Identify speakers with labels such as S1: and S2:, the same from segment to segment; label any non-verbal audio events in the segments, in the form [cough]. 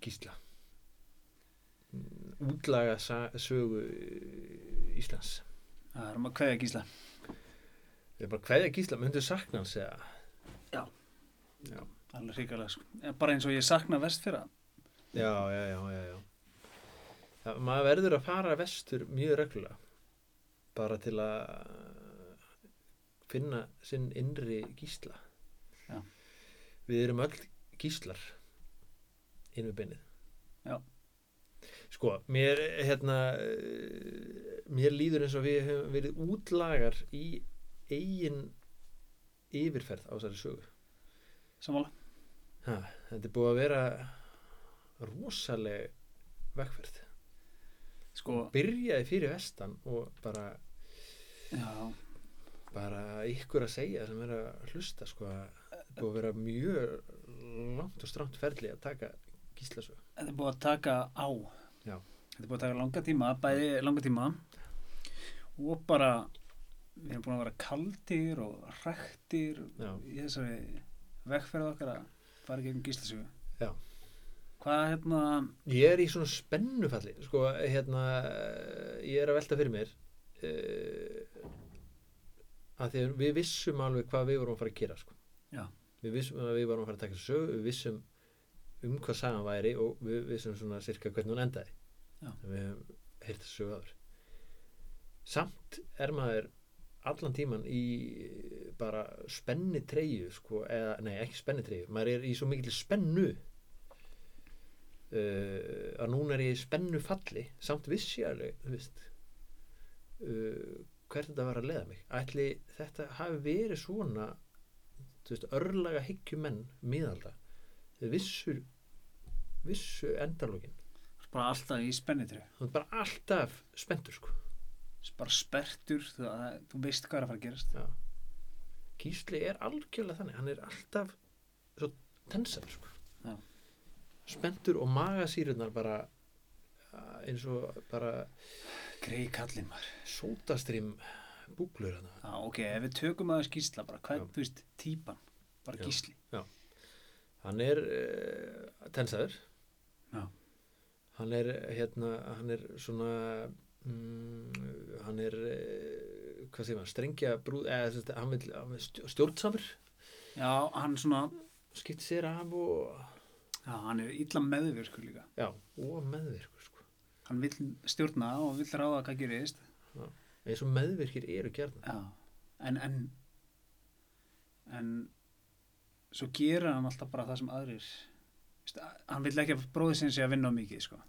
S1: Gísla útlaga sa- sögu eh, Íslands
S2: Það erum að kveðja gísla.
S1: Við bara hverja Gísla, myndu sakna hans eða
S2: Já.
S1: Já.
S2: Alveg hrikalega sko. En Bara eins og ég sakna vestfyrra.
S1: Já, já, já, já, já. Það, maður verður að fara vestur mjög reglulega bara til að finna sinn innri gísla
S2: Já.
S1: Við erum öll gíslar inn við beinið
S2: Já.
S1: Sko, mér hérna eh, mér líður eins og við höfum verið útlagar í eigin yfirferð á þessari sögu
S2: Samála.
S1: Ha, þetta er búið að vera rosaleg vegferð.
S2: Sko,
S1: Byrjaði fyrir vestan og bara,
S2: já.
S1: bara ykkur að segja sem er að hlusta sko að þetta er búið að vera mjög langt og stránt ferli að taka gíslasög.
S2: Þetta er búið að taka á.
S1: Já.
S2: Þetta er búið að taka langa tíma, bæði langa tíma og bara við erum búin að vera kaldir og hræktir
S1: Já.
S2: í þessari vegferð okkar að fara gegn gíslasögu.
S1: Já.
S2: Hvað hérna,
S1: Ég er í svona spennufalli sko hérna ég er að velta fyrir mér uh, að því að við vissum alveg hvað við vorum að fara að gera sko.
S2: Já.
S1: Við vissum að við vorum að fara að taka þessa sög við vissum um hvað sagan væri og við vissum svona sirka hvernig hún endaði
S2: Já.
S1: við hefum heyrt þessu sögu aður samt er maður allan tíman í bara spenni treyju sko, eða, nei ekki spenni treyju, maður er í svo mikil spennu uh, að núna er ég í spennu falli samt vissi ég alveg þú veist, uh, hvert þetta var að leiða mig ætli þetta hafi verið svona þú veist, örlaga hyggjumenn miðalda þau vissu vissu endalókin
S2: þú ert bara alltaf í spennitri,
S1: það er bara alltaf spenntur sko.
S2: bara spertur, þú, að, þú veist hvað er að fara að gerast.
S1: Já. Gísli er algjörlega þannig hann er alltaf svo tensar sko.
S2: Já.
S1: spenntur og magasýrunar bara uh, eins og bara
S2: Grei kallinn maður.
S1: sótastrým búblur hérna. hann
S2: Já, ok, ef við tökum aðeins gísla bara, hvað,
S1: Já.
S2: þú veist, típan, bara
S1: Já.
S2: gísli.
S1: hann er uh, tensaður
S2: Já.
S1: hann er eh, hérna hann er svona mm, hann er uh, hvað segir maður, strengja brúð eða, sem sagt, hann vil, hann vil stjó- stjórnsamur
S2: Já, hann svona,
S1: skipt sér af og
S2: já, hann er illa meðvirkur líka.
S1: já, og meðvirkur sko.
S2: Hann vill stjórna og vill ráða hvað gerist.
S1: eins og meðvirkir eru gerðna
S2: Já, en, en, en, svo gerir hann alltaf bara það sem aðrir, veist, að- hann vill ekki að bróðið sinni sé að vinna á mikið, sko.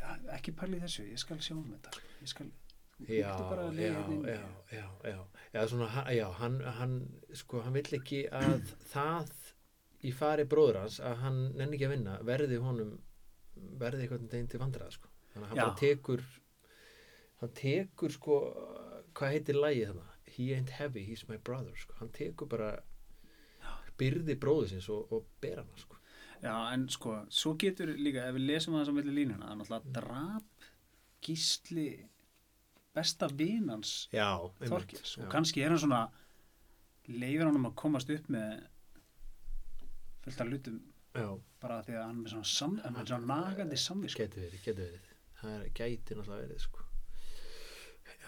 S2: Já, ekki pæli þessu, ég skal sjá um þetta, sko. ég skal,
S1: já,
S2: Kíktu bara að leiða
S1: já,
S2: hérna inn.
S1: já, já, já, já, svona, ha- já hann, hann, sko, hann vill ekki að það í fari bróður hans að hann nenni ekki að vinna verði honum verði einhvern veginn til vandrað sko. þannig að hann
S2: Já.
S1: bara tekur hann tekur sko hvað heitir lagið þannig he ain't heavy, he's my brother sko. hann tekur bara byrði bróður sinns og, og ber hann sko.
S2: já, en sko, svo getur líka, ef við lesum aðeins á milli línuna, það er náttúrulega drap, gísli, besta vinans,
S1: já,
S2: Þorgils og kannski er hann svona leifir hann um að komast upp með fullt af lutum
S1: já,
S2: bara því að hann er með svona, sam, hann er með svona nagandi samvisk
S1: Gæti verið, gæti verið Það er, gæti náttúrulega verið sko.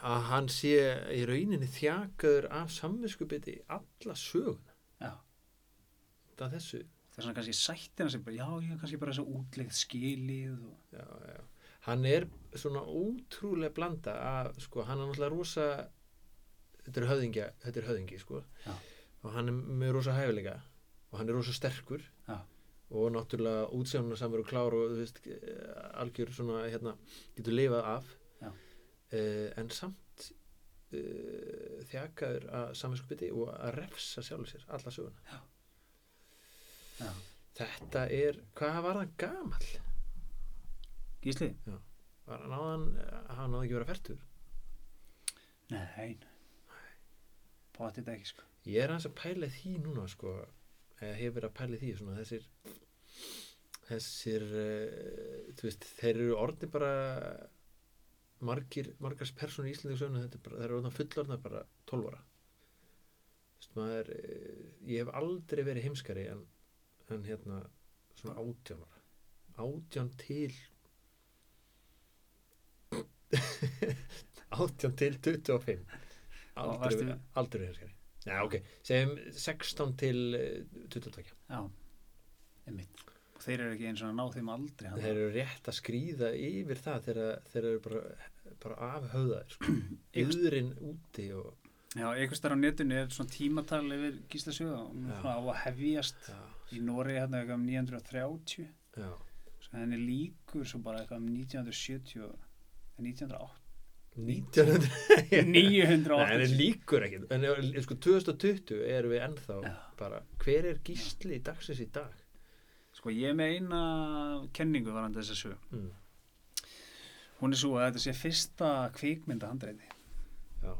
S1: að hann sé í rauninni þjakaður af samvinskupiti alla söguna
S2: já,
S1: það er þessu
S2: þess vegna kannski sættir hann sem bara, já, ég er kannski bara þess að útlegð skilið og,
S1: já, já. hann er svona ótrúlega blanda að sko, hann er náttúrulega rosa þetta er höfðingi, þetta er höfðingi sko.
S2: Já.
S1: og hann er með rosa hæfileika og hann er rosa sterkur
S2: já,
S1: og náttúrulega útsjónarsamur og klár og þú veist, eh, algjör svona hérna, getur lifað af
S2: Já.
S1: uh, en samt uh, þjakaður að samvinskupiti og að refsa sjálfur sér alla söguna
S2: já.
S1: þetta er, hvað var hann gamall
S2: Gísli?
S1: var hann áðan, eh, hann áðan ekki að vera færtur
S2: Nei, potið ekki sko
S1: ég er hans að pæla í því núna sko, eða hefur verið að pæla í því svona þessir þessir uh, þú veist, þeir eru orðni bara margir, margars persónu í Íslandu söguna, þetta er bara, þeir eru orðna fullorðna bara 12 ára Þú veist, maður, eh, uh, ég hef aldrei verið heimskari en, en hérna svona 18 ára átján til [laughs] átján til 25
S2: varstu-
S1: aldrei, aldrei herskari Já, ok, segjum 16 til eh, 22
S2: já, einmitt og þeir eru ekki eins og að ná þeim aldrei hann.
S1: Þeir eru rétt að skrýða yfir það þegar þeir eru bara, bara afhauðaðir
S2: [clears throat]
S1: sko. yðurinn úti og
S2: já, einhvers þar á netinu er svona tímatal yfir Gísla sögu og hún
S1: Já.
S2: er svona á að hefjast
S1: já,
S2: í Noregi hérna eitthvað um 930
S1: já,
S2: svo henni líkur svo bara eitthvað um 1970 eh, 1908 [laughs]
S1: 1900 Nei, en er
S2: 980
S1: líkur ekki en er- sko 2020 erum við ennþá
S2: Já.
S1: bara, hver er gísli í dagsins í dag
S2: sko ég er með eina kenningu varandi þessa sögu
S1: mm.
S2: hún er svo að þetta sé fyrsta kvikmynda handreiti
S1: já,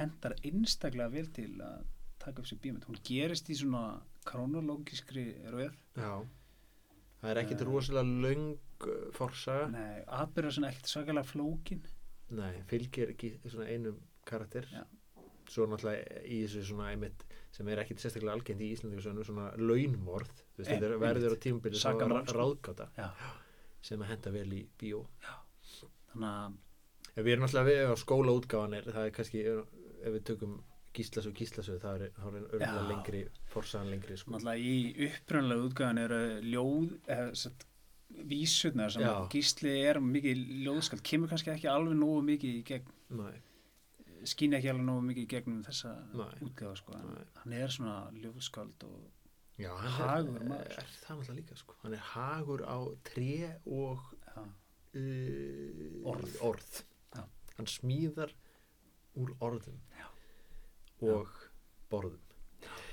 S2: hendar einstaklega vel til að taka upp sér bímynd hún gerist í svona kronologískri röð
S1: já það er ekkit
S2: Eh.
S1: rosalega löng uh, forsaga
S2: Nei, atbyrða svona ekkert svakalega flókin
S1: Nei, fylgir ekki svona einum karakter
S2: Já.
S1: svo náttúrulega í þessu svona einmitt sem er ekkit sérstaklega algjönd í Íslandingasönu svona launmorð, þú veist,
S2: Ein-
S1: þetta er- verður á tímabilið sem
S2: Eh, Sakamál,
S1: var
S2: sko.
S1: ráðgáta
S2: Já.
S1: sem að henda vel í bíó
S2: þannig að
S1: ef við erum náttúrulega við á skóla útgáfanir það er kannski, ef við tökum gíslas og gíslasu, það er, það er örgulega
S2: Já.
S1: lengri, forsaðan lengri sko.
S2: náttúrulega í upprunlega útgáðan eru ljóð eða, satt, vísurnar sem
S1: Já.
S2: gísli er mikið ljóðskald kemur kannski ekki alveg nógu mikið í gegn
S1: Nei,
S2: skýn ekki alveg nógu mikið í gegnum þessa
S1: Nei.
S2: útgáða sko en
S1: Nei.
S2: hann er svona ljóðskald og
S1: já, hann
S2: Hagur
S1: er,
S2: maður.
S1: er, það náttúrulega líka sko. hann er hagur á tré og
S2: já,
S1: uh,
S2: Orð.
S1: orð.
S2: Já.
S1: hann smíðar úr orðum
S2: Já.
S1: og borðum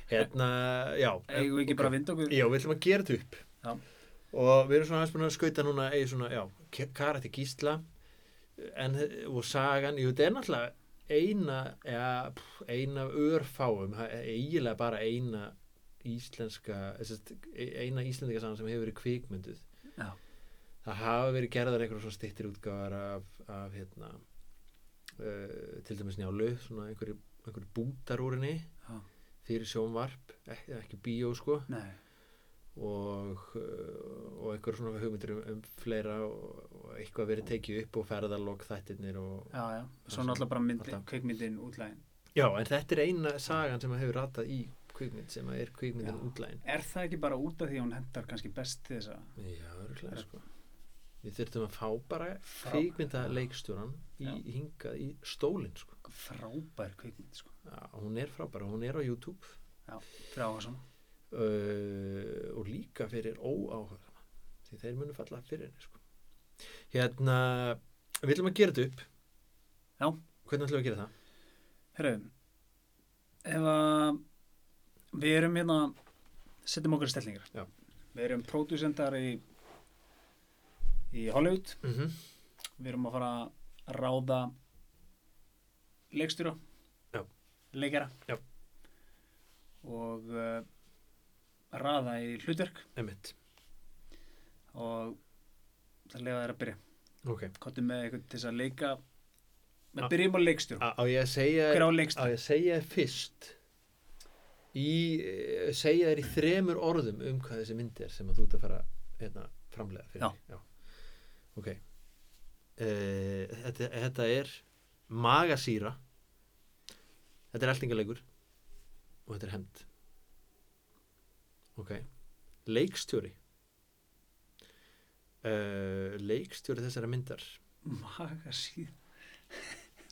S1: hérna, já
S2: eigum við ekki bara að vinda okkur
S1: já, við ætlum að gera þetta upp
S2: Já.
S1: og við erum svona aðeins búin að skauta núna eigi svona, já, ke- karate gísla en, og sagan jú, þetta er náttúrulega eina ja, pff, eina af örfáum það er eiginlega bara eina íslenska þessi, eina íslendinga sagan sem hefur verið kvikmynduð
S2: já,
S1: það hafa verið gerðar einhverjum svona stittir útgáðar af, af hérna uh, til dæmis njálu svona einhverju, einhverju bútar úr henni
S2: já,
S1: fyrir sjónvarp, ekki, ekki bíó sko
S2: nei
S1: og, uh, og einhverjum svona hugmyndur um, um fleira og, og eitthvað verið tekið upp og ferðalog þættirnir og
S2: já, já, svo
S1: sem-
S2: náttúrulega bara myndi,
S1: alltaf.
S2: kvikmyndin útlæðin
S1: já, en þetta er eina sagan sem hefur ratað í kvikmynd sem er kvikmyndin
S2: Já.
S1: útlæðin
S2: er það ekki bara út af því að hún hendar kannski best til þess að
S1: já, örugglega sko við þurftum að fá bara
S2: Frá-
S1: kvikmynda leikstjóran í,
S2: Já.
S1: hingað í stólinn sko
S2: frábær kvikmynd sko,
S1: Já, hún er frábæra, hún er á YouTube
S2: fyrir áhersan
S1: uh, og líka fyrir óáhuga því þeir munu falla fyrir henni sko. hérna við ætlum að gera þetta upp
S2: Já.
S1: hvernig ætlum við að gera það?
S2: herru ef að við erum hérna setjum okkur í stellingar
S1: Já.
S2: við erum pródúsendar í í Hollywood
S1: Mm -hmm.
S2: við erum að fara að ráða leikstjóra
S1: Já.
S2: leikara
S1: Já.
S2: og uh, ráða í hlutverk
S1: emitt,
S2: og það lefa þær að byrja
S1: ok
S2: kottum með eitthvað til þess að leika
S1: Ah. Eh,
S2: með byrjum á leikstjóra
S1: á á ég að segja
S2: hver á
S1: á
S2: leikstjóra
S1: ég að segja þér fyrst í eh, segja þér í þremur orðum um hvað þessi mynd er sem að þú ert að fara hérna, framlega fyrir
S2: Já.
S1: mig. Já. ok uh, þetta, þetta er magasýra þetta er eltingalegur og þetta er hemd ok leikstjóri uh, leikstjóri þessara myndar
S2: magasíð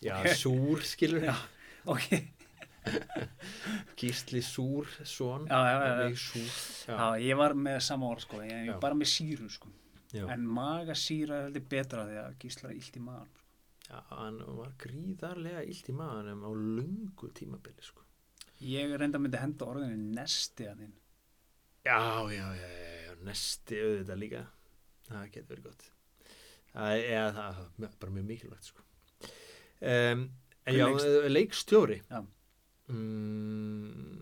S1: já,
S2: Ok.
S1: súr skilur
S2: Já. ok
S1: gísli súr son
S2: já, já, já, já.
S1: Leik súr já,
S2: Já, ég var með sama orð sko, ég,
S1: Já.
S2: ég bara með síru sko.
S1: já.
S2: en magasýra er heldur betra því að gíslar illt í magan sko.
S1: Já, hann var gríðarlega illt í maðanum á lungu tímabili sko.
S2: ég reynda myndi henda orðinu nesti að þín
S1: já, já, já, já, já, nesti auðvitað líka það getur verið gott það er eða það, það er bara mjög mikilvægt sko. um, en já, eh,
S2: Leikst-
S1: leikstjóri
S2: Já.
S1: mm,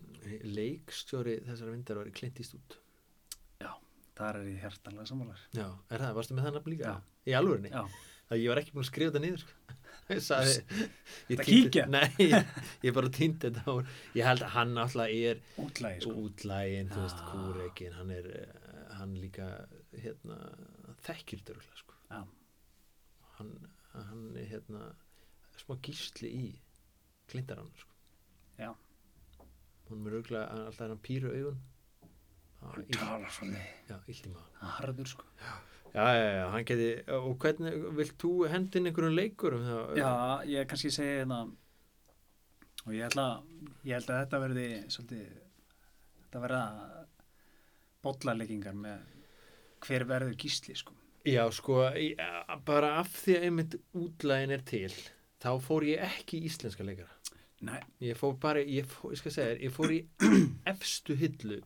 S1: leikstjóri þessar vindar var Clint Eastwood
S2: þar er ég hjartanlega sammálar
S1: já, er það, varstu með þannig líka?
S2: Já.
S1: í alvörinni?
S2: já,
S1: að ég var ekki búin að skrifa þetta niður sko. [laughs] ég sagði ég
S2: Þetta
S1: týndi-
S2: kíkja?
S1: nei, ég, ég bara týndi þetta úr. ég held að hann náttúrulega er
S2: útlægi sko.
S1: útlægin, þú veist,
S2: Ah.
S1: kúrekin hann er, eh, hann líka hérna, þekkir dörgla sko.
S2: Já.
S1: hann, hann er hérna, smá gísli í glindar hann sko.
S2: Já.
S1: hún er örgla alltaf er hann pýru augun Það var
S2: hann
S1: illt-
S2: talar svona
S1: já, illt í maður
S2: hann er harður sko
S1: já, já, já, hann geti og hvernig, vilt þú hendin einhverjum leikur um það
S2: Já, ég kannski segi hérna og ég ætla ég held að þetta verði svolítið þetta verða bollarleggingar með hver verður gísli sko
S1: já sko, í- a- bara af því að einmitt útlæðin er til þá fór ég ekki í íslenska leikara
S2: Nei,
S1: ég fór bara, ég, fór, ég skal segja þér ég fór í [clears throat] efstu hillu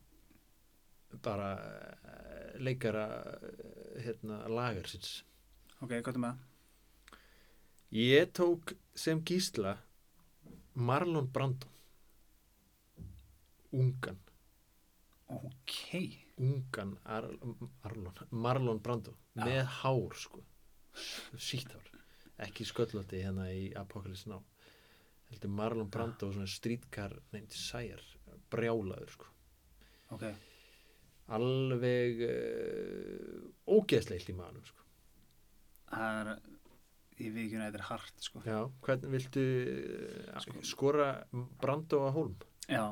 S1: bara eh, leikara eh, hérna, lagarsins
S2: ok, hvað er með
S1: ég tók sem gísla Marlon Brandon ungan
S2: það ok,
S1: ungan Ar Arlon, Marlon Brando
S2: Já.
S1: með hár sko sítt hár, ekki sköllótti hérna í Apocalypse Now heldur Marlon Brando svona streetcar nefnd Sire, brjálaður sko
S2: ok
S1: alveg uh, ógeðsleilt í manum sko
S2: það er ég við ekki að þetta er hart sko
S1: Já, hvernig viltu uh, skora Brando að hólm?
S2: Já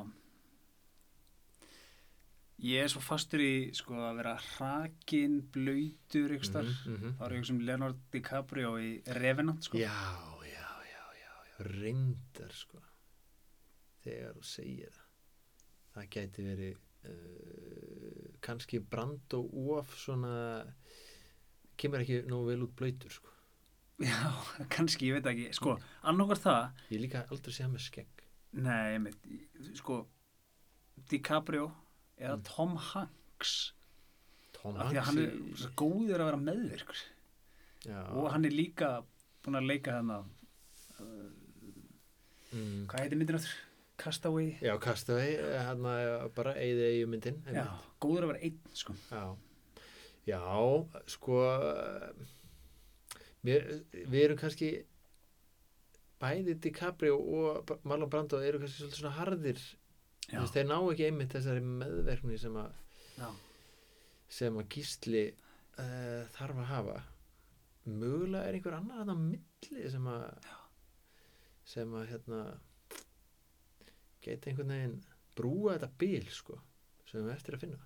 S2: Ég er svo fastur í sko að vera hrakin, blöytur ykkur starf,
S1: Mhm, mhm.
S2: þá er ég sem Leonard DiCaprio í Revenant sko
S1: Já, já, já, já, já reyndar sko þegar þú segir það það gæti verið uh, kannski brand og of svona kemur ekki nógu vel út blöytur sko
S2: [laughs] Já, kannski, ég veit ekki. Sko, annarkar það,
S1: ég líka aldrei sé hann með skegg
S2: nei, einmitt, sko, DiCaprio eða Tom Hanks,
S1: Mm. Tom
S2: af því
S1: Hanks
S2: að hann er
S1: í-
S2: svo góður að vera meðvirkur
S1: já,
S2: og hann er líka búinn að leika þarna,
S1: mm,
S2: hvað heitir myndin aftur? Castaway?
S1: já kastaði hann bara eigði eigi myndin
S2: Já,
S1: einmitt.
S2: góður að vera einn, sko.
S1: Já, já sko mér, við erum kannski bæði DiCaprio og Marlon Brando eru kannski svolítið svona harðir Þú
S2: Já,
S1: veist, þeir ná ekki einmitt þessari meðverkni sem að,
S2: já,
S1: sem að gísli uh, þarf að hafa mögulega er einhver annar hann á milli sem að sem að hérna geta einhvern veginn brúa þetta bil sko sem við eftir að finna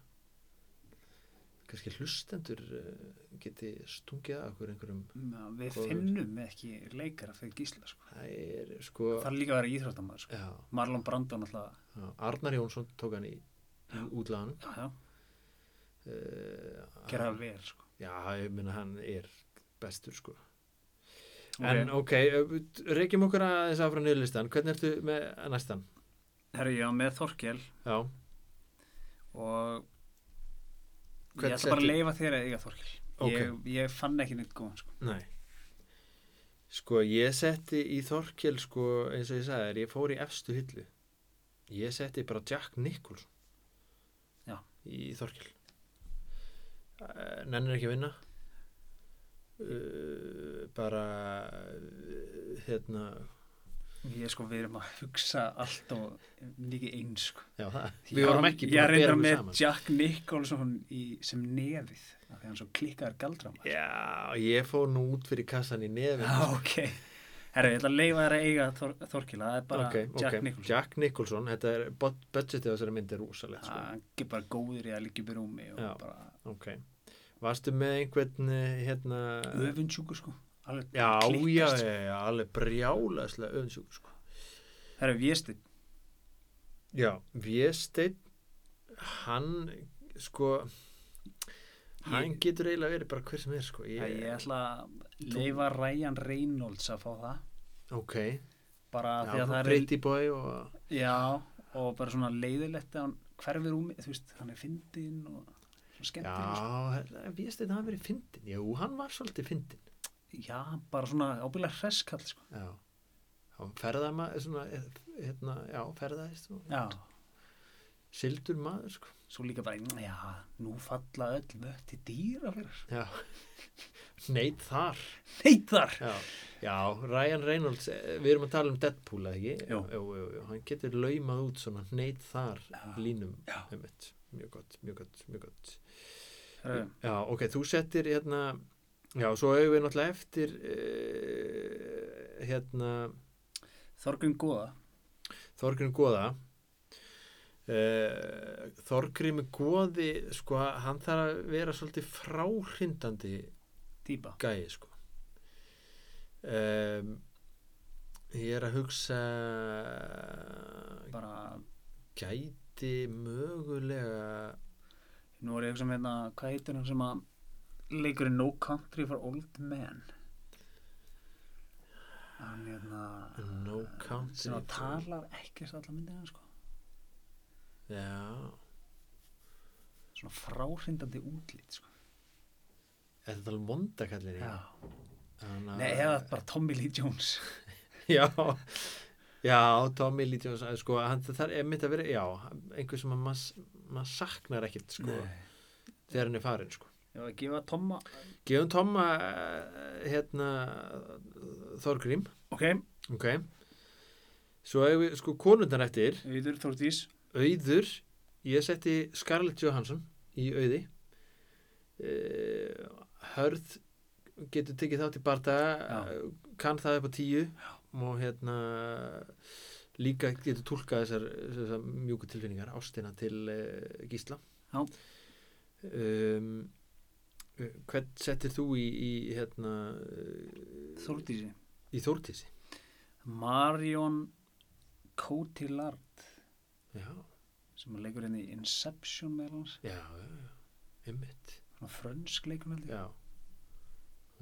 S1: kannski hlustendur uh, geti stungið að okkur einhverjum
S2: já, við
S1: Góður.
S2: finnum ekki leikara fyrir gísla, sko.
S1: það er sko
S2: Það er líka að vera íþróttamæður, sko.
S1: já,
S2: Marlon Brando náttúrulega,
S1: já, Arnar Jónsson tók hann í útlaganum
S2: já, já,
S1: uh,
S2: gera það vel, sko.
S1: já, ég minna hann er bestur sko
S2: Ok.
S1: en ok, eh, reykjum okkur aðeins áfram niðurlistan, hvernig ertu með næstan?
S2: Herri, já, með Þorkel
S1: já,
S2: og
S1: Hvern
S2: ég ætla bara að
S1: settu?
S2: leifa þér að eiga Þorkel
S1: Ok.
S2: ég, ég fann ekki neitt góðan sko.
S1: nei sko, ég setti í Þorkel sko, eins og ég sagði þér, ég fór í efstu hillu ég setti bara Jack Nicholson
S2: Já.
S1: í Þorkel Eh, nennir ekki að vinna uh, bara eh, hérna
S2: ég sko, við erum að hugsa allt og mikið eins sko.
S1: já, það,
S2: Ég
S1: við vorum ekki
S2: ég
S1: búin að
S2: reyndar
S1: bera mig
S2: með
S1: saman
S2: Jack Nicholson í, sem nefið af því hann svo klikkaður galdram
S1: já, ég fór nú út fyrir kassan í nefn
S2: [laughs] ok herri, ég ætla að leifa þér að eiga Þor, Þorkel það er bara
S1: Ok,
S2: Jack
S1: ok.
S2: Nicholson
S1: Jack Nicholson, þetta er bud- budgetið á þessari myndi er rúsalegt sko.
S2: hann er bara góður í að liggja upp í rúmi og
S1: Já.
S2: bara
S1: ok, varstu með einhvern eh, hérna
S2: öfundsjúkur sko alveg
S1: já, já,
S2: klikkast, sko.
S1: já, já, alveg brjálæslega öðinsjúk sko.
S2: herri, Vésteinn
S1: já, Vésteinn hann sko hann getur eiginlega verið bara hver sem er sko.
S2: Yeah.
S1: ég,
S2: Ég ætla að leifa Ryan Reynolds að fá það
S1: ok,
S2: bara
S1: já,
S2: já, því að það er
S1: Pretty Boy og
S2: já, og bara svona leiðilegt að hann hverfir um, þú veist, hann er fyndinn og svona sko. skemmtileg
S1: já, hérna, Vésteinn hann verið fyndin jú, hann var svolítið fyndin
S2: já. já, bara svona ábyggilega hresskall sko.
S1: já, hann ferðama svona, eh, hérna, já, ferðaðist og
S2: já,
S1: sildur maður sko
S2: svo líka bara já, nú falla öll vötti dýra fyrir
S1: [laughs] já. neitt þar
S2: neyðar
S1: já. já, Ryan Reynolds eh, við erum að tala um Deadpool eða ekki
S2: Jú.
S1: Jú, jú, jú. hann getur laumað út svona neitt þar
S2: Já.
S1: línum
S2: Já.
S1: einmitt. mjög gott, mjög gott, mjög gott
S2: Herra,
S1: Já, ok, þú settir hérna Já, svo hefur við náttúrulega eftir uh, hérna
S2: Þorgrinn Góða
S1: Þorgrim Góða uh, Þorgrim Góði sko, hann þarf að vera svolítið fráhrindandi
S2: típa
S1: gæi sko um, Ég er að hugsa
S2: bara,
S1: gæti mögulega
S2: nú er ég sem hérna, hvað heitir hann sem að leikur í No Country for Old Men hann hérna
S1: No Country
S2: sem að
S1: for-
S2: talar ekkert allar myndina sko
S1: Já,
S2: svona fráhrindandi útlít sko
S1: er þetta alveg monda kallir ég Þannig að-
S2: Nei, eða bara Tommy Lee Jones
S1: já, já, Tommy Lee Jones eh, sko, hann, það er mitt að vera, já einhver sem að maður mað saknar ekkert sko, þegar hann er farinn sko.
S2: ég var að gefa Tomma
S1: gefum Tomma eh, hérna Þorgrím,
S2: ok,
S1: ok svo hefur við, sko, konundar eftir
S2: Viður Þórdís
S1: auður, ég setti Scarlett Johansson í auði uh, hörð getur tekið þátt í barða
S2: Já.
S1: kann það upp á tíu og hérna líka getur tólkað þessar, þessar mjúku tilfinningar, ástina til uh, gísla
S2: Já.
S1: um, eh, hvern settir þú í, í hérna eh,
S2: Þórdísi
S1: í Þórtísi
S2: Marion Cotillard
S1: já,
S2: sem að leikur henni í Inception meðal hans
S1: já, já, já, einmitt
S2: svona frönsk leikur henni
S1: Já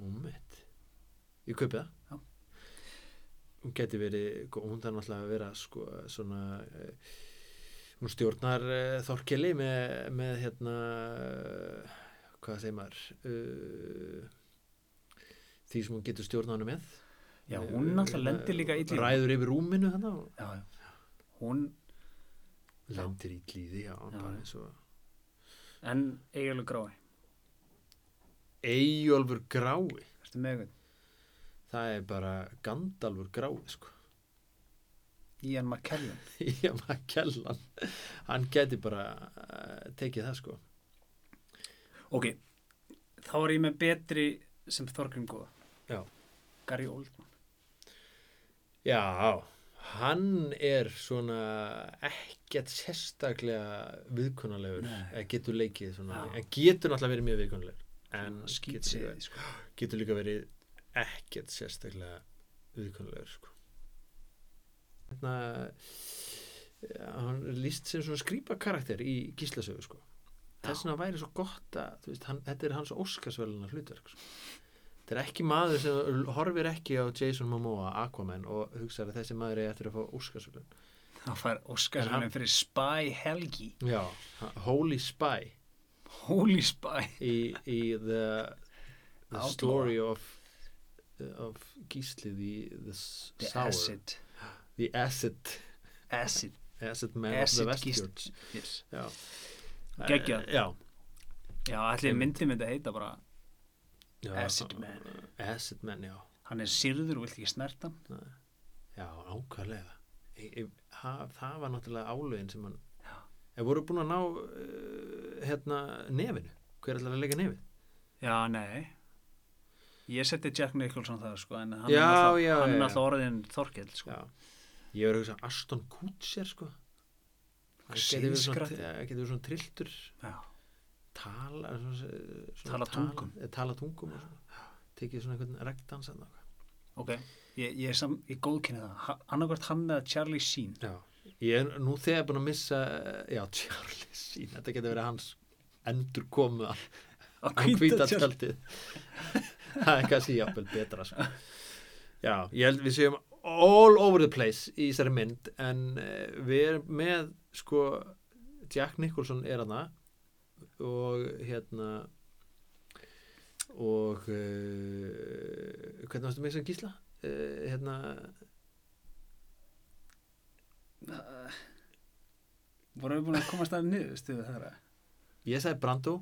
S1: Úmett Ég kaupi það
S2: Já.
S1: Hún geti verið, hún þarf náttúrulega að vera sko, svona eh, hún stjórnar eh, Þorkeli með, með hérna eh, hvað segir maður uh, því sem hún getur stjórna hana með
S2: já,
S1: Eh,
S2: hún
S1: hérna,
S2: náttúrulega lendir líka í já,
S1: Ræður yfir rúminu hann og
S2: já. hún, Já.
S1: lendir í líði já,
S2: Já,
S1: bara
S2: já.
S1: eins og
S2: en eiginlega grái
S1: Eyjólfur grái
S2: Ertu með eitthvað?
S1: það er bara Gandalfur grái sko
S2: Ian McKellen
S1: Ian McKellan um hann geti bara uh, tekið það sko
S2: ok, þá er ég með betri sem Þorgrim góða
S1: Já.
S2: Gary Oldman
S1: já, hann er svona ekkert sérstaklega viðkunnalegur
S2: Nei.
S1: eða getur leikið svona,
S2: Já.
S1: en getur náttúrulega verið mjög viðkunnalegur en
S2: Svona
S1: getur líka,
S2: skítsiði sko.
S1: getur líka verið ekkert sérstaklega viðkunnalegur sko hérna ja, hann er líst sem svona skrýpa karakter í gíslasögu sko þess vegna væri svo gott að þú veist, hann, þetta er hans óskarsvelunar hlutverk sko. þetta er ekki maður sem horfir ekki á Jason Momoa Aquaman og hugsar að þessi maður er eftir að fá óskarsvelun
S2: hann fær Oscar
S1: En hann-
S2: fyrir Spy Helgi
S1: já, Holy Spy
S2: Holy Spy
S1: í, í the, the
S2: Outlaw.
S1: story of of Gísli the, the, s-
S2: The
S1: sour
S2: Acid
S1: the acid,
S2: Acid,
S1: acid man of the
S2: acid
S1: Westfjords
S2: Gist yes.
S1: já
S2: Geggjað.
S1: Eh, já,
S2: Já, allir myndi myndi heita bara
S1: já
S2: Acid Man.
S1: acid man, já
S2: Hann er sirður og vilt ekki snerta hann
S1: Já, ákvæðlega það, það var náttúrulega álögin sem hann En voru búin að ná uh, hérna nefinu Hver ætlar að leika nefið?
S2: Já, nei Ég seti Jack Nicholson það sko En hann
S1: Já,
S2: er alltaf,
S1: já,
S2: hann
S1: já,
S2: er
S1: já.
S2: alltaf orðin Þorkel sko.
S1: Já Ég var að hugsa Aston Kutcher sko Hann getur verið svona,
S2: Seiðskratti.
S1: ja, getur verið svona trilltur
S2: já.
S1: Tala svona, svona
S2: Tala tungum.
S1: tala, eh, tala tungum og svona Tekið svona einhvern regndansa þarna, eitthvað.
S2: Ok, ég, ég, er sam, ég góðkynni það Annarkvært hann eða Charlie Sheen
S1: Já Ég er nú þegar búin að missa eh, Já, Charlie Sheen Þetta getur verið hans endur komu að
S2: Að
S1: á hvíta tjaldið það er kannski jafnvel betra sko. já, ég held við séum all over the place í þessari mynd en uh, við erum með sko, Jack Nicholson er hana og hérna og uh, hvernig varstu með sem gísla? Uh, hérna,
S2: Vorum við búin að komast að niður stuðu þeirra
S1: ég sagði Brando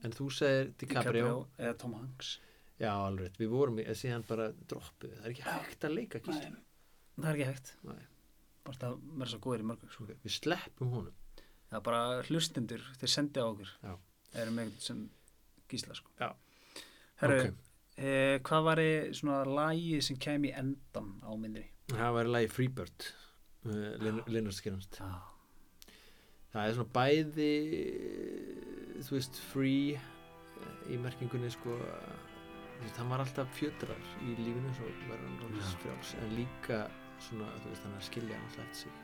S1: en þú segir DiCaprio,
S2: Eða Tom Hanks
S1: já alveg, rétt, við vorum í, en síðan bara droppið, það er ekki hægt að leika gísla
S2: Nei, Það er ekki hægt
S1: Nei.
S2: Bara að vera svo góðir í mörgum sko.
S1: við sleppum honum
S2: Það er bara hlustendur, þeir sendi á okkur erum með einhvern sem gísla sko.
S1: Já.
S2: Herru,
S1: Ok.
S2: eh, hvað var svona lagið sem kem í endan á myndri?
S1: það var lagi Freebird uh, Leonard Skinner
S2: Já.
S1: það er svona bæði eh, þú veist free eh, í merkingunni sko eh, þú veist, hann var alltaf fjötrar í lífinu svo var hann alveg
S2: Já.
S1: frjáls en líka svona þú veist hann er að skilja hann alltaf eftir sig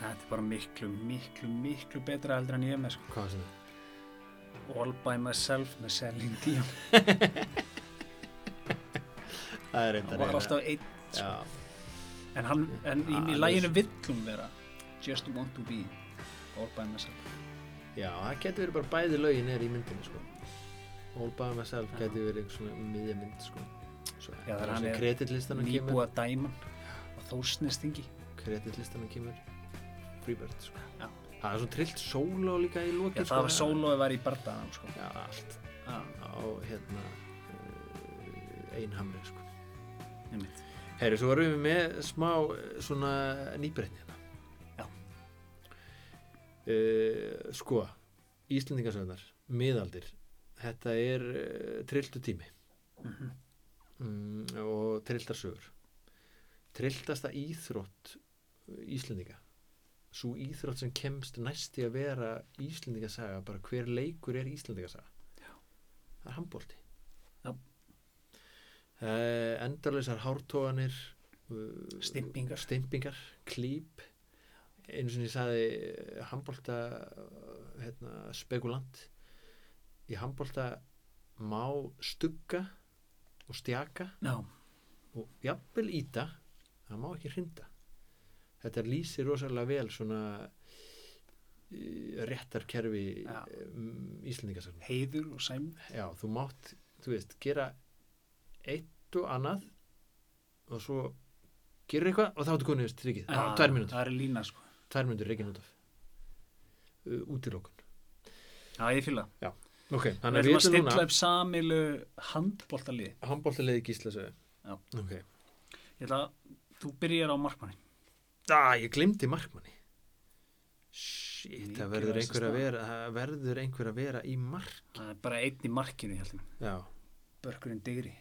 S2: Þetta er bara miklu, miklu, miklu betra heldur en ég er með sko.
S1: hvað var sem það?
S2: All by myself með Selin Díon.
S1: það er
S2: Það
S1: reyndar
S2: var
S1: eiginlega-
S2: alltaf einn, sko.
S1: já,
S2: en, hann, en í, í
S1: Alveg.
S2: laginu villum vera Just want to be all by myself.
S1: já, það getur verið bara bæði lögin er í myndinu sko All by myself
S2: Já.
S1: getur verið einhver svona miðja mynd sko svo,
S2: Já, það er hann er
S1: kreditlistanum kemur
S2: Nýbúa dæman og þórsnestingi.
S1: kreditlistanum kemur Freebird sko
S2: Já.
S1: það er svona trillt sóló líka í
S2: sko, Já,
S1: lokin sko.
S2: það var sólóið var í bardaðan sko.
S1: já, allt
S2: Já,
S1: á hérna uh, einhamri sko.
S2: einmitt.
S1: Herri, svo varum við með smá eh, svona nýbreytni hérna.
S2: Já.
S1: Eh, sko, Íslendingasöðnar, miðaldir, þetta er uh, trilltu tími
S2: Mhm.
S1: mm, og trilltarsögur. Trilltasta íþrótt uh, Íslendinga, svo íþrótt sem kemst næsti að vera Íslendingasaga, bara hver leikur er Íslendingasaga.
S2: Já.
S1: Það er handbólti.
S2: Já.
S1: Uh, endarleysar hártóganir uh,
S2: Stimpingar.
S1: stimpingar, klíp einu sem ég sagði handbólta hérna, spekulant í handbólta má stugga og stjaka
S2: Já,
S1: og jafnvel íta það má ekki hrinda þetta lýsir rosalega vel svona eh, réttarkerfi
S2: Já.
S1: íslendingasögnum
S2: heiður og sæm.
S1: já, þú mátt, þú veist, gera eitt og annað og svo gera eitthvað og þá ertu konið yfir strikið, ah, tvær mínútur
S2: Það er lína sko.
S1: tvær mínútur reikin út af uh, útilokun
S2: Já, ég fýla.
S1: ok,
S2: Við
S1: þannig að við
S2: erum að
S1: erum
S2: stilla
S1: núna
S2: upp samilu handbóltalið.
S1: handbóltalegi gíslasöðu
S2: Já.
S1: ok,
S2: Ég ætla að þú byrjar á markmanni.
S1: ah, ég glimti markmanni shit, það verður
S2: Mikilvægasta
S1: einhver að
S2: staðan.
S1: vera það verður einhver að vera í mark
S2: Það er bara einn í markinu, ég held ég.
S1: já,
S2: Börkurinn digri.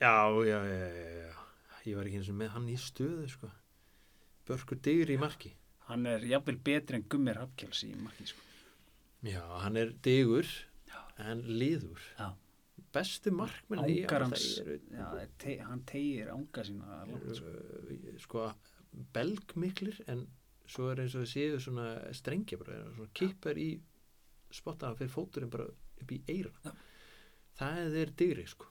S1: já, já, já, já, já. ég var ekki eins og með hann í stöðu sko. börkur digri í marki
S2: Hann er jafnvel betri en Gummir Hafkjáls í markinu, sko.
S1: já, hann er digur
S2: Já.
S1: en liður
S2: Já.
S1: bestu markmenn í-
S2: Angar hans,
S1: það eru-
S2: já, te, hann tegir ánga sína langt, sko.
S1: eru, uh, sko belgmiklir en svo er eins og það séu svona strengja bara, eru svona kippar í spottana fyrir fóturinn bara upp í eira
S2: Já.
S1: það er digri sko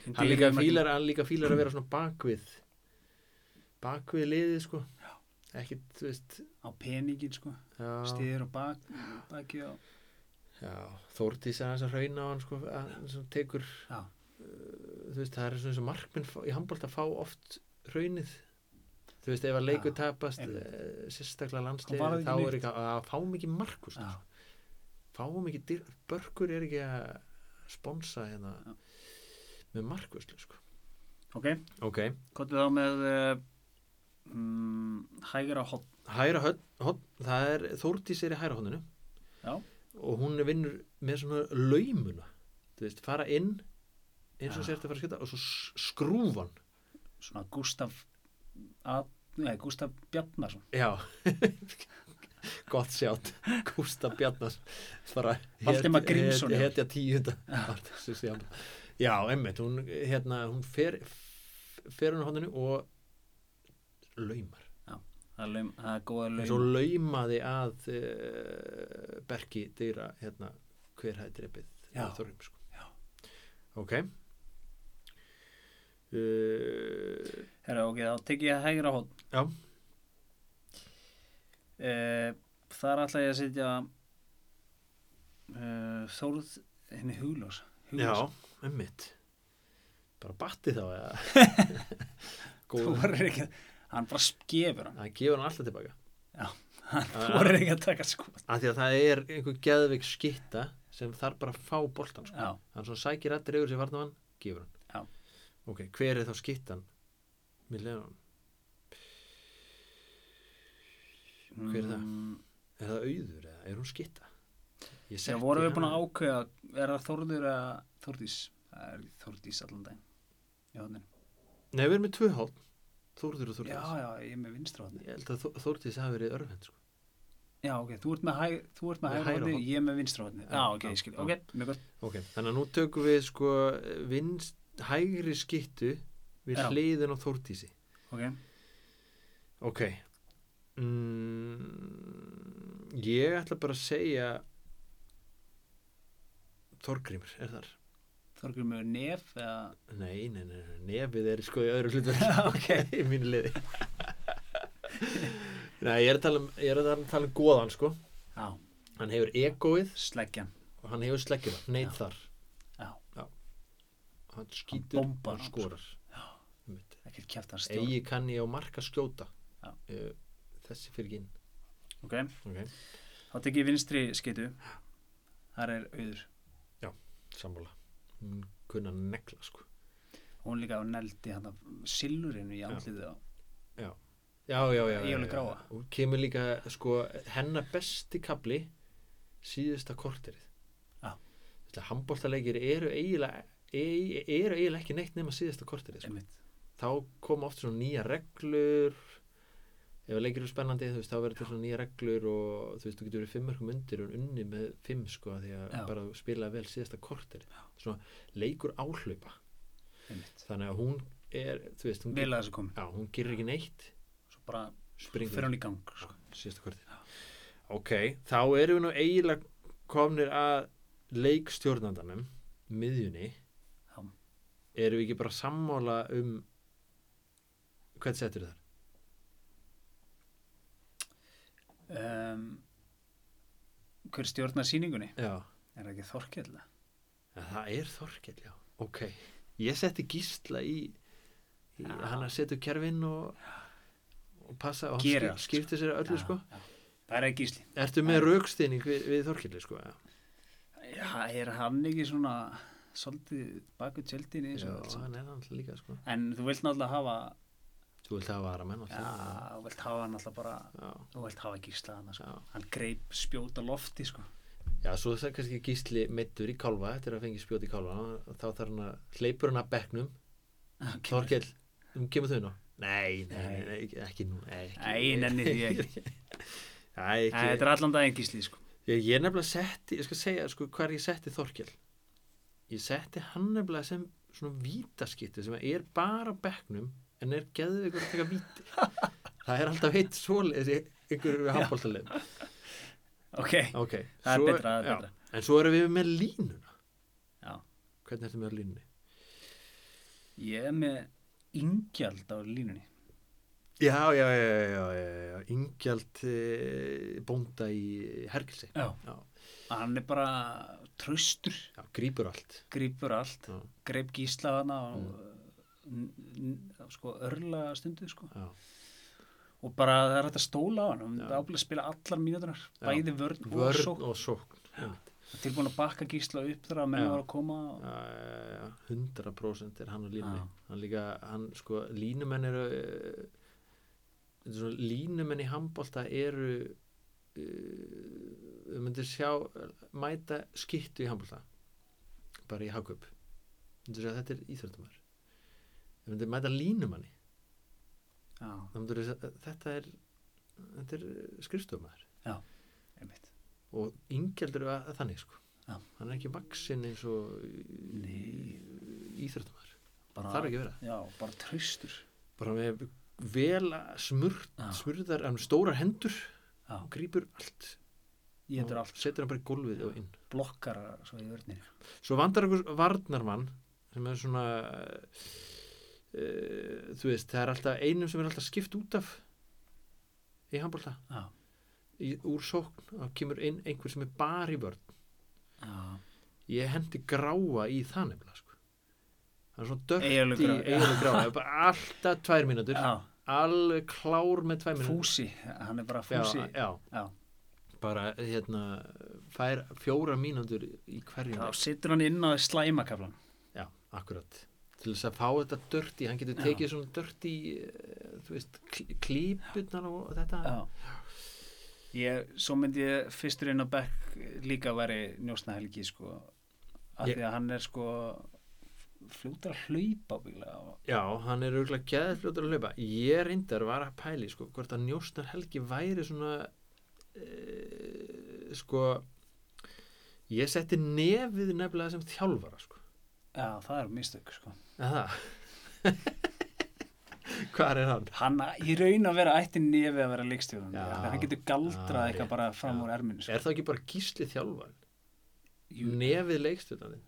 S2: En
S1: hann
S2: Digri
S1: líka,
S2: í markinu.
S1: fílar, hann líka fílar að vera svona bakvið bakvið liðið sko ekkit, þú veist
S2: Á peningin, sko.
S1: já,
S2: Stiðir og bak, baki á.
S1: já, Þórdís aðeins að hrauna á hann sko að, sem tekur
S2: Já.
S1: þú veist, það er svona eins og markminn fá- í handbólt að fá oft raunið þú veist, ef að leiku
S2: Já,
S1: tapast
S2: einmitt.
S1: eh, sérstaklega
S2: Þá var
S1: landslið
S2: það
S1: þá
S2: ekki
S1: er
S2: neitt.
S1: ekki að fá mikið markus
S2: Já.
S1: fá mikið dyr, börkur er ekki að sponsa hérna
S2: Já.
S1: með markuslu sko.
S2: Ok,
S1: ok,
S2: gott þá með uh, mm, hægra hot.
S1: hæra hot, hot það er Þórdís er í hæra hotinu
S2: Já.
S1: og hún vinnur með svona laumuna þú veist, fara inn eins og
S2: Já.
S1: sérst að fara að skjöta og svo s- skrúfan
S2: svona Gustaf A, nei, Gustaf Bjarnarsson
S1: Já [laughs] Gott sjátt Gústa Bjarnas bara
S2: Valdimar
S1: het-
S2: Grímsson,
S1: het-
S2: já.
S1: Hetja tíunda [laughs] Arnarsi Sjálf. Já, emmitt, hún, hérna, hún fer f- fer hún á hondinu og laumar
S2: það er, laum, það er góða laum
S1: eins og laumaði að uh, Berki dýra hérna, hver hæði drepið
S2: Já.
S1: Þorgrim sko.
S2: Já.
S1: Ok uh,
S2: Herra, ok, þá tek ég að hægra hótt
S1: Já.
S2: Eh, Þar ætla ég að setja uh, Þórð henni Huglós
S1: Já, emmitt bara batti þá eða
S2: [laughs] Þú
S1: Góður.
S2: voru ekki að hann bara skefur hann
S1: Það gefur hann alltaf tilbaka
S2: Þú voru ekki að taka sko
S1: af því að það er einhver geðveik skitta sem þarf bara að fá boltan sko.
S2: Já,
S1: hann svona sækir að dregur sér varnamann gefur hann ok, hver er þá skittan Millennium, Hver er það?
S2: Mm,
S1: er það auður eða er hún skitta Ég
S2: Þegar
S1: setti
S2: vorum við búin að
S1: hana-
S2: ákveða, er það Þórður eða Þórdís? Það er Þórdís allan daginn. í horninu.
S1: Nei, við erum með tvö hálf Þórður og
S2: Já,
S1: Þórdís
S2: já, ég er með vinstra hóðni.
S1: Ég held að Þó- Þórdís hafi verið örfend sko.
S2: Já, ok, þú ert með, hæ, þú ert með
S1: Með
S2: hægra
S1: hægra
S2: hóðni,
S1: horn.
S2: ég er með vinstra hóðni.
S1: Já,
S2: Já, ok,
S1: já,
S2: ég skil.
S1: já.
S2: Ok, mjög gott.
S1: Ok, þannig að nú tökum við sko vinst, hægri skittu við
S2: Já.
S1: hliðin á Þórdísi
S2: Ok,
S1: Ok mm, Ég ætla bara að segja Þorgrímur er þar
S2: Þorgur með nef eða...
S1: Nei, nei, nei, nei, nefið er sko í öðru hlutur
S2: [laughs] ok.
S1: [laughs] í mínu liði Nei, ég er að tala um, ég er að tala um, tala um góðan sko
S2: Já,
S1: Hann hefur egóið
S2: sleggjan.
S1: og hann hefur sleggjuna, neitt
S2: Já.
S1: þar
S2: Já.
S1: Hann skýtur
S2: bombar
S1: og
S2: hann, sko.
S1: skorar
S2: Já.
S1: Einmitt.
S2: Ekkert kjæft hann stjórn.
S1: Eigi kann ég á marka skjóta
S2: Já.
S1: Eh, Þessi fyrir ekki inn
S2: Ok,
S1: okay.
S2: þá tek ég vinstri skeitu. Þar er auður.
S1: Sammála Hún kunna að negla sko
S2: Hún líka á neldi hann af silurinu í andliðið á.
S1: Já, já, já, já,
S2: Í alveg
S1: já,
S2: gráa.
S1: já. Hún kemur líka, sko, hennar besti kapli síðasta korterið
S2: Já.
S1: Þetta handbóltaleikir eru eiginlega e- eru eiginlega ekki neitt nema síðasta korterið sko.
S2: Einmitt.
S1: þá koma oft svona nýja reglur ef að leikir eru spennandi þú veist, þá verður til svona nýja reglur og þú veist, þú getur verið fimm mörgum undir og unni með fimm sko, því að
S2: Já.
S1: bara spila vel síðasta korterið svona leikur áhlaupa
S2: Einmitt.
S1: þannig að hún er, þú veist, hún,
S2: Vel að þessu komið.
S1: já, hún gerir ekki neitt
S2: Svo bara
S1: springur
S2: fyrir hún í gang, sko.
S1: síðasta kortið ok, þá erum við nú eiginlega komnir að leikstjórnandanum miðjunni
S2: Já.
S1: erum við ekki bara sammála um hvern settur þar?
S2: um, hver stjórnar síningunni
S1: Já,
S2: er það ekki Þorkell
S1: en það er Þorkell, já ok, ég setti gísla í, í
S2: Já.
S1: hann að setja upp kerfin og, og passa og
S2: Gerir
S1: hann
S2: allt,
S1: skip, skipti sér öllu sko
S2: já. það er ekki Gísli
S1: ertu með raukstýning við, við Þorkelli sko já,
S2: já, er hann ekki svona svolítið baku tjöldin
S1: já
S2: en
S1: hann er hann líka sko
S2: þú vilt náttúrulega hafa
S1: þú vilt hafa aðra menn
S2: já,
S1: alltaf
S2: þú vilt hafa hann alltaf bara
S1: já,
S2: þú vilt hafa Gísla hann sko.
S1: já.
S2: hann greip spjóta lofti sko. [laughs]
S1: Já, svo það er kannski gísli meittur í kálfa eftir að fengi spjóti í kálfa og þá þarf hann að hleypur hann að bekknum Þorkell, um kemur þau nú? Nei, nei, nei, nei ekki- ekki nú Nei, ekki,
S2: Nei, ég nenni því
S1: [laughs]
S2: ekki.
S1: Nei,
S2: Æ, þetta
S1: ekki.
S2: er allan daginn Gísli sko.
S1: Ég, ég nefnilega setti, ég skal segja sko, hvað ég setti Þorkell Ég setti hann nefnilega sem svona vítaskittu sem er bara á bekknum en er geðið ykkur að taka víti [laughs] Það er alltaf heitt svoleiðis í ykkur við handbóltalegum
S2: ok,
S1: Ok,
S2: það er
S1: svo-
S2: betra, það er
S1: já.
S2: betra.
S1: En svo erum við með línuna
S2: Já.
S1: Hvernig ertu með línunni?
S2: ég er með yngjald á línunni
S1: Já, já, já, já, já, já, já. Ingjald eh, bónda í Hergilsi.
S2: já.
S1: Já,
S2: hann er bara tröstur
S1: já, grípur allt.
S2: gripur allt
S1: Já.
S2: greip gísla hana og
S1: Mm.
S2: n- n- sko, örla stundu sko.
S1: Já,
S2: og bara það er hægt að stóla á hann um og
S1: Já.
S2: ábúin að spila allar mínútunar
S1: Já.
S2: bæði vörn, og
S1: vörn
S2: sók
S1: og sókn. Já,
S2: tilbúin að bakka gísla upp þegar að menn
S1: Já.
S2: var að koma og...
S1: já, já, 100% er hann á línunni.
S2: Já.
S1: Hann líka, hann sko, línumenn eru, eh, þetta er svona, línumenn í handbólta eru, eh, við myndir sjá, mæta skittu í handbólta, bara í hagkaup. Myndir sjá, þetta er íþjóttumar. Við myndir mæta línumanni.
S2: já,
S1: Þá myndir þú segja, þetta er þetta er skrifstofmaður
S2: einmitt
S1: og yngjaldur er að- þannig sko
S2: Já.
S1: hann er ekki vaksinn eins og
S2: Nei.
S1: íþrættumæður
S2: bara,
S1: þarf ekki að vera
S2: já, bara tröstur
S1: bara með vel smurt,
S2: Já.
S1: smurðar en stórar hendur
S2: Já.
S1: og grípur allt
S2: ég hefur
S1: Og
S2: allt
S1: setur hann bara í gólfið og inn
S2: blokkar svo í vörnir
S1: svo vandar einhver varnarmann sem er svona uh, þú veist, það er alltaf einum sem er alltaf skipt út af í handbólta
S2: já,
S1: í, úr sókn og kemur inn einhver sem er bara í vörn
S2: já,
S1: ég hendi gráa í það nefnilega sko. það er svona dögt í
S2: Eyjólfur Grá-
S1: eiginlega gráa Það er bara alltaf tvær mínútur
S2: já.
S1: alveg klár með tvær mínútur
S2: fúsi, hann er bara
S1: já,
S2: fúsi
S1: já.
S2: Já.
S1: bara hérna fær fjóra mínútur í hverjum
S2: þá
S1: leik.
S2: situr hann inn á slæmakaflan
S1: já, akkurat til þess að fá þetta dörti, hann getur
S2: Já.
S1: tekið eh, svona dörti þú veist, klípunar og þetta
S2: já, Ég, svo myndi ég fyrsturinn á Beck líka væri njósnahelgi sko af
S1: Ég-
S2: því að hann er sko fljótur að hlaupa ábyggilega og
S1: Já, hann er auðvitað geðið fljótur að hlaupa Ég reyndar var að pæli sko, hvort að njósnar helgi væri svona e, sko ég setti nefið nefnilega sem þjálfara sko
S2: já, það er mistök sko.
S1: Eða [laughs] Hvar er hann?
S2: Hann í raun að vera ætti nefi að vera leikstjóðan
S1: Já,
S2: hann getur galdrað
S1: já, rétt,
S2: eitthvað bara fram
S1: já.
S2: úr erminu sko.
S1: Er það ekki bara gísli þjálfari?
S2: Jú.
S1: Nefið leikstjórnarinn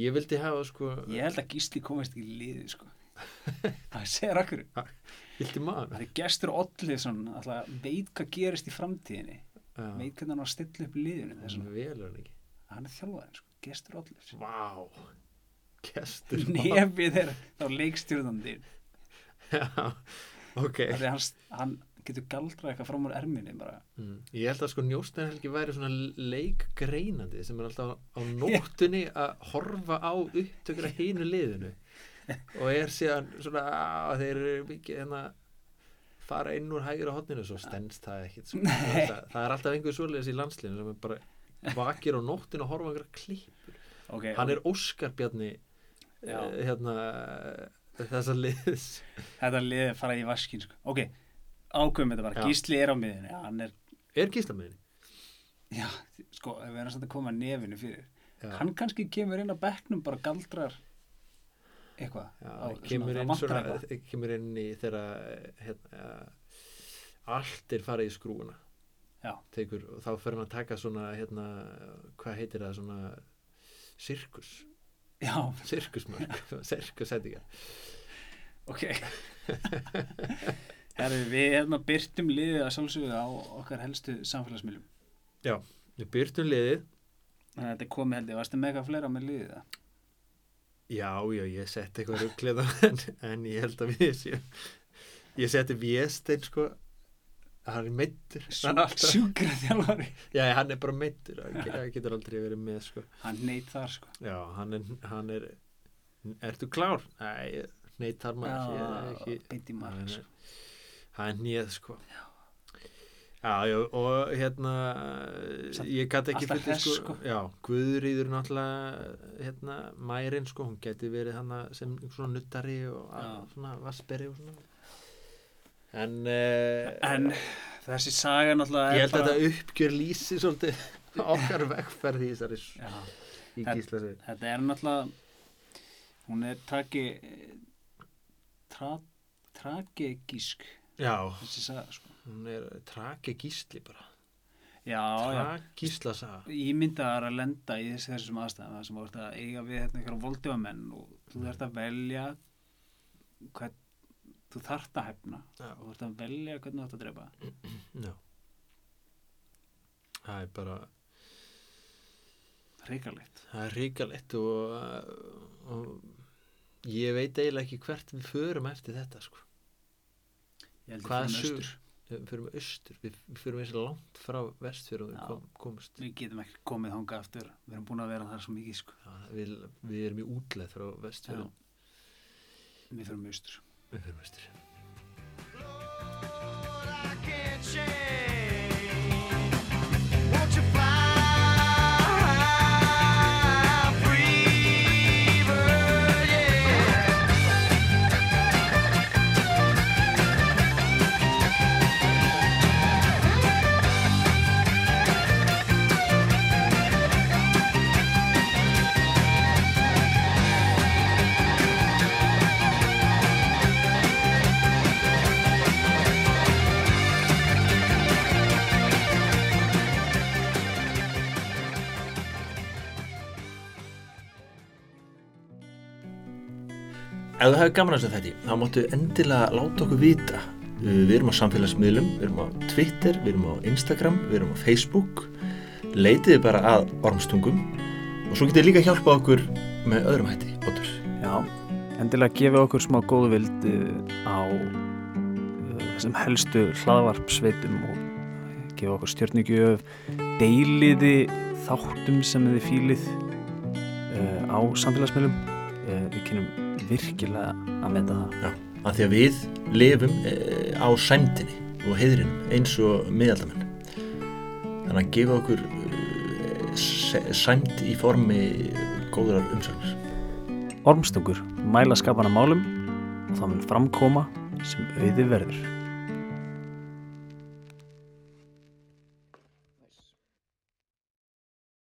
S1: Ég vildi hafa sko
S2: Ég held að Gísli komist ekki í liði sko Það segir okkur
S1: Vildi maður
S2: Það er gestur ollið svona alltaf, veit hvað gerist í framtíðinni
S1: Já, Mm.
S2: veit hvernig hann á að stilla upp liðinu þessum.
S1: vel er hann ekki
S2: hann er þjálfaðin sko, gestur ollið
S1: Vá Kestur
S2: [laughs] nefið er þá leikstjórnandi
S1: [laughs] Já, ok
S2: þannig að hann, hann getur galdrað eitthvað fram úr erminni bara
S1: mm. Ég held að sko njósnarhelgi væri svona leikgreinandi sem er alltaf á nóttunni að horfa á upptökur að hinu liðinu og er síðan svona að þeir eru mikið hérna fara inn úr hægra hotninu svo stendst það ekkit sko. það, er alltaf, það er alltaf einhver svoleiðis í landslinu sem er bara vakir á nóttinu að horfa á einhverja klipp
S2: okay,
S1: hann er Óskar Bjarni
S2: Já.
S1: eh, hérna þessa liðs
S2: þetta liðið fara í vaskin sko. ok, ákveðum þetta bara
S1: Já.
S2: Gísli er á miðinu já, hann er,
S1: er gíslamiðin
S2: já, sko, ef við erum samt að koma nefinu fyrir hann kannski kemur inn á bekknum bara galdrar eitthvað
S1: Já,
S2: á-
S1: það kemur,
S2: það
S1: inn
S2: vantar
S1: svona, [laughs]
S2: eitthvað.
S1: það kemur inn í þegar hérna, allt er farið í skrúuna
S2: Já.
S1: Tekur, og þá fer hann að taka svona hérna, hvað heitir það svona sirkus
S2: já, [laughs]
S1: sirkusmörk, sirkusendingar
S2: ok Herri, við hérna byrtum liðið að sjálfsögðu á okkar helstu samfélagsmiðlum
S1: við byrtum liðið
S2: þannig að þetta er komið held ég, varstu mega fleira með liðið það
S1: já, já, ég setti eitthvað rugglið en, [laughs] en ég held að við séum ég setti Véstein sko hann er meittur hann, er alltaf-
S2: sjúkra þjálfari
S1: já, já, hann er bara meittur hann ge-
S2: [laughs]
S1: hann getur aldrei verið með sko
S2: hann neitt þar sko
S1: Já, hann er, hann er Ertu klár? Nei, ég- nei, þar maður
S2: Já,
S1: ekki, ekki
S2: beint í mark,
S1: Hann
S2: sko.
S1: er- Hann er nýð, sko Já, já, og hérna
S2: Samt
S1: ég gæti ekki
S2: alltaf
S1: fundið,
S2: hress, sko.
S1: Já, Guðrýður náttúrulega hérna, mærin, sko, hún gæti verið hann sem svona nuttari og
S2: Já.
S1: svona vassberi og svona En, eh,
S2: en þessi saga náttúrulega
S1: ég
S2: er
S1: held að þetta uppgjör lýsi svolítið [laughs] okkar vegferð í þessari s-
S2: já,
S1: í
S2: Þetta-
S1: gíslasið
S2: þetta er náttúrulega hún er tragi tra, tragegísk
S1: Já,
S2: þessi saga sko
S1: hún er tragegísli bara
S2: já, já
S1: tragísla saga
S2: ég myndi að vera að lenda í þessi, þessum aðstæðum þar sem þú ert að eiga við hérna einhverja voldjöfamenn og þú ert að velja hvað þú þart að hefna
S1: já,
S2: og þú ert að velja hvernig þú ert að drepa
S1: já. það er bara
S2: hrikalegt
S1: það er ríkalegt og, og ég veit eiginlega ekki hvert við förum eftir þetta sko.
S2: Ég held ég
S1: Hvað
S2: fyrir með
S1: sögur?
S2: austur.
S1: við förum austur, við, við förum eins og langt frá vestfjörðum
S2: Já.
S1: við kom, komust já,
S2: við getum ekki komið þangað aftur við erum búin að vera þar svo mikið sko
S1: við, við erum í útleð frá
S2: Já.
S1: vestfjörðum
S2: við fyrir með austur
S1: við förum austur Ef þú hefur gaman af þessu þætti, þá máttu endilega láta okkur vita. Við erum á samfélagsmiðlum, við erum á Twitter, við erum á Instagram, við erum á Facebook. Leitiði bara að ormstungum og svo getið líka hjálpa okkur með öðrum hætti, Otur.
S2: Já, endilega gefa okkur smá góðvild á eh, þessum helstu hlaðvarpsveitum og eh, gefa okkur stjörnigjöf, deiliði þáttum sem þið fílið eh, á samfélagsmiðlum. Eh, Við kynum virkilega að meta það.
S1: Já, af því að við lifum eh, á sæmtinni og heiðrinum eins og miðaldamenn. þannig að gefa okkur eh, s- sæmd í formi góðrar umsögnar
S2: Ormstungur mæla skapana málum og það mun framkoma sem auði verður.